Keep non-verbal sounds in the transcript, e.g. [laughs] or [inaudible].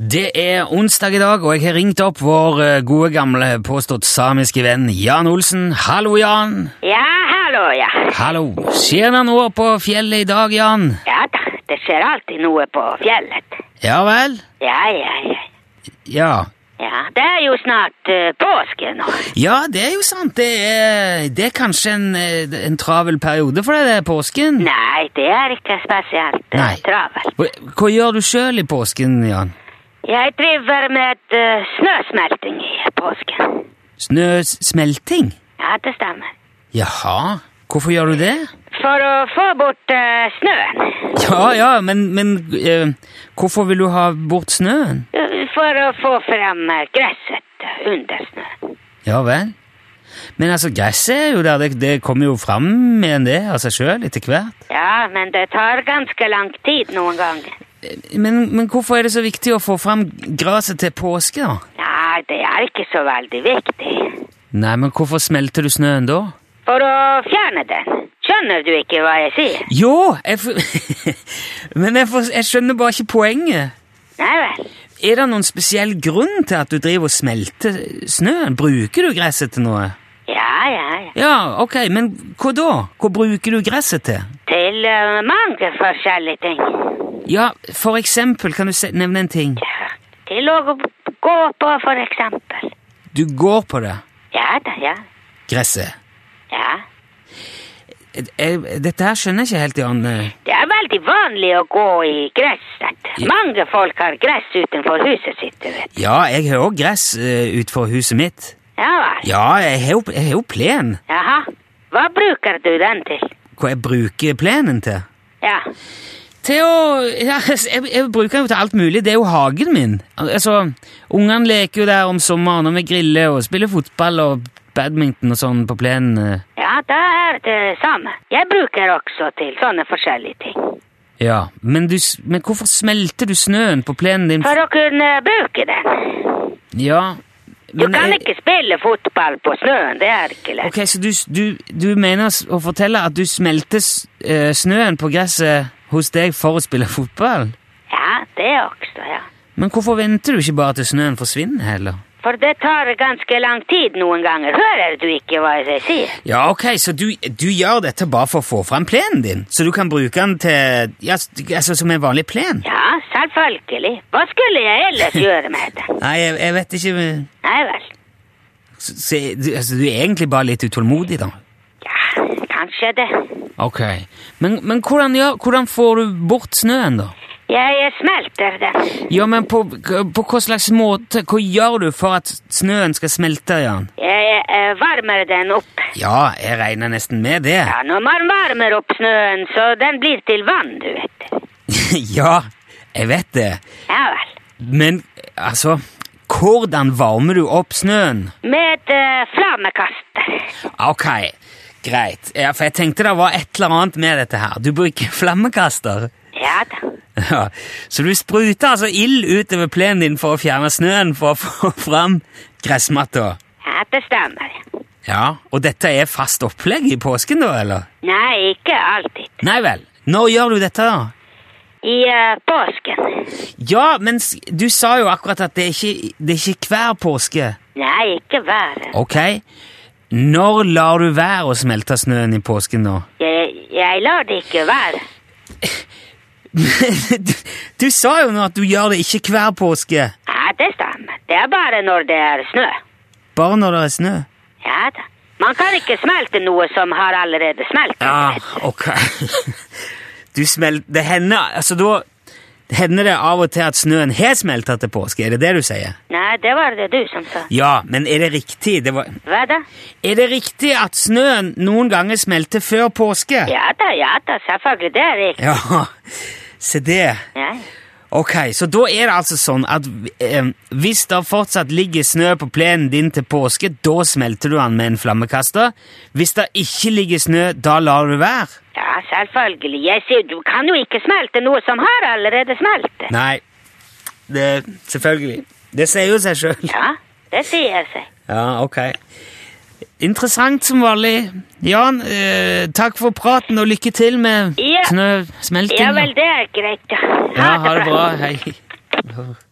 Det er onsdag i dag, og jeg har ringt opp vår eh, gode gamle påstått samiske venn Jan Olsen. Hallo, Jan! Ja, hallo, ja. Hallo! Skjer det noe på fjellet i dag, Jan? Ja da, det skjer alltid noe på fjellet. Ja vel? Ja, ja, ja. Ja. ja det er jo snart eh, påske nå. Ja, det er jo sant. Det er, det er kanskje en, eh, en travel periode for deg, det er påsken. Nei, det er ikke spesielt eh, Nei. travelt. Hva, hva gjør du sjøl i påsken, Jan? Jeg driver med eh, snøsmelting i påsken. Snøsmelting? Ja, det stemmer. Jaha. Hvorfor gjør du det? For å få bort eh, snøen. Ja, ja, men, men eh, hvorfor vil du ha bort snøen? For å få frem eh, gresset eh, under snøen. Ja vel. Men altså, gresset er jo der, det, det kommer jo fram igjen det av seg sjøl etter hvert. Ja, men det tar ganske lang tid noen ganger. Men, men hvorfor er det så viktig å få fram gresset til påske, da? Nei, det er ikke så veldig viktig. Nei, men hvorfor smelter du snøen da? For å fjerne den. Skjønner du ikke hva jeg sier? Jo, jeg for... [laughs] Men jeg, for... jeg skjønner bare ikke poenget. Nei vel. Er det noen spesiell grunn til at du driver og smelter snøen? Bruker du gresset til noe? Ja, ja, ja. Ja, ok, men hva da? Hva bruker du gresset til? Til eh, mange forskjellige ting. Ja, for eksempel, kan du se... nevne en ting? Ja. Til å gå på, for eksempel. Du går på det, Ja da, ja. gresset. Ja. Jeg- jeg- Eh, Dette her skjønner jeg ikke helt, Jan. Eh, Det er veldig vanlig å gå i gresset. Ja. Mange folk har gress utenfor huset sitt, du vet. Ja, jeg har òg gress eh, utenfor huset mitt. Ja vel. Ja, jeg har jo- jeg har jo plen. Jaha. Hva bruker du den til? Hva jeg bruker plenen til? Ja. Til å ja, jeg, jeg bruker den jo til alt mulig. Det er jo hagen min. Al- Altså, Ungene leker jo der om sommeren, og vi griller og spiller fotball og badminton og sånn på plenen. eh. Ja, da er det samme. Jeg bruker også til sånne forskjellige ting. Ja, men, du, s- men hvorfor smelter du snøen på plenen din? For å kunne bruke den. Ja, Du men kan jeg- ikke spille fotball på snøen, det er ikke lett. Ok, så du, du, du mener s- å fortelle at du smelter s- eh, snøen på gresset hos deg for å spille fotball? Ja, det også, ja. Men hvorfor venter du ikke bare til snøen forsvinner heller? For det tar ganske lang tid noen ganger, hører du ikke hva jeg sier? Ja, ok, så du, du gjør dette bare for å få fram plenen din? Så du kan bruke den til, ja, s- altså som en vanlig plen? Ja, selvfølgelig. Hva skulle jeg ellers gjøre med det? Nei, jeg, jeg vet ikke, men- Nei vel. så, så, du, altså, du er egentlig bare litt utålmodig da? Ja, kanskje det. Ok, men, men hvordan, gjør, hvordan får du bort snøen da? Jeg smelter den. Ja, men på, på hva slags måte, hva gjør du for at snøen skal smelte, Jan? Jeg eh, varmer den opp. Ja, jeg regner nesten med det. Ja, når man varmer opp snøen, så den blir til vann, du vet. [laughs] ja, jeg vet det. Ja vel. Men altså Hvordan varmer du opp snøen? Med eh, flammekaster. Ok, greit. Ja, For jeg tenkte det var et eller annet med dette her. Du bruker [laughs] flammekaster. Ja da. Ja, Så du spruter altså ild utover plenen din for å fjerne snøen for å få [laughs] fram gressmatta. Ja, det stemmer. Ja, Og dette er fast opplegg i påsken, da, eller? Nei, ikke alltid. Nei vel. Når gjør du dette, da? I eh, påsken? Ja, men s- du sa jo akkurat at det er ikke, det er ikke hver påske. Nei, ikke været. Ok. Når lar du være å smelte snøen i påsken nå? Jeg, jeg lar det ikke være. [laughs] du, du sa jo nå at du gjør det ikke hver påske. Ja, det stemmer. Det er bare når det er snø. Bare når det er snø. Ja da. Man kan ikke smelte noe som har allerede smeltet. Ja, ok. [laughs] Du smelt... Det hender Altså, da hender det av og til at snøen har smelta til påske. Er det det du sier? Nei, det var det du som sa. Ja, men er det riktig? Det var, Hva da? er det riktig at snøen noen ganger smelter før påske? Ja da, ja da, selvfølgelig. Det er riktig. Ja, [laughs] se det. Ja. Ok, så da er det altså sånn at eh, hvis det fortsatt ligger snø på plenen din til påske, da smelter du den med en flammekaster. Hvis det ikke ligger snø, da lar du være. ja, selvfølgelig. Jeg sier du kan jo ikke smelte noe som har allerede smeltet. Nei, det Selvfølgelig. Det sier jo seg sjøl. Ja, det sier seg. [laughs] Ja, ok. Interessant som vanlig. Jan, eh, takk for praten, og lykke til med Ja. snøsmelting. Ja vel, det er greit. Ja, ha det bra. Hei.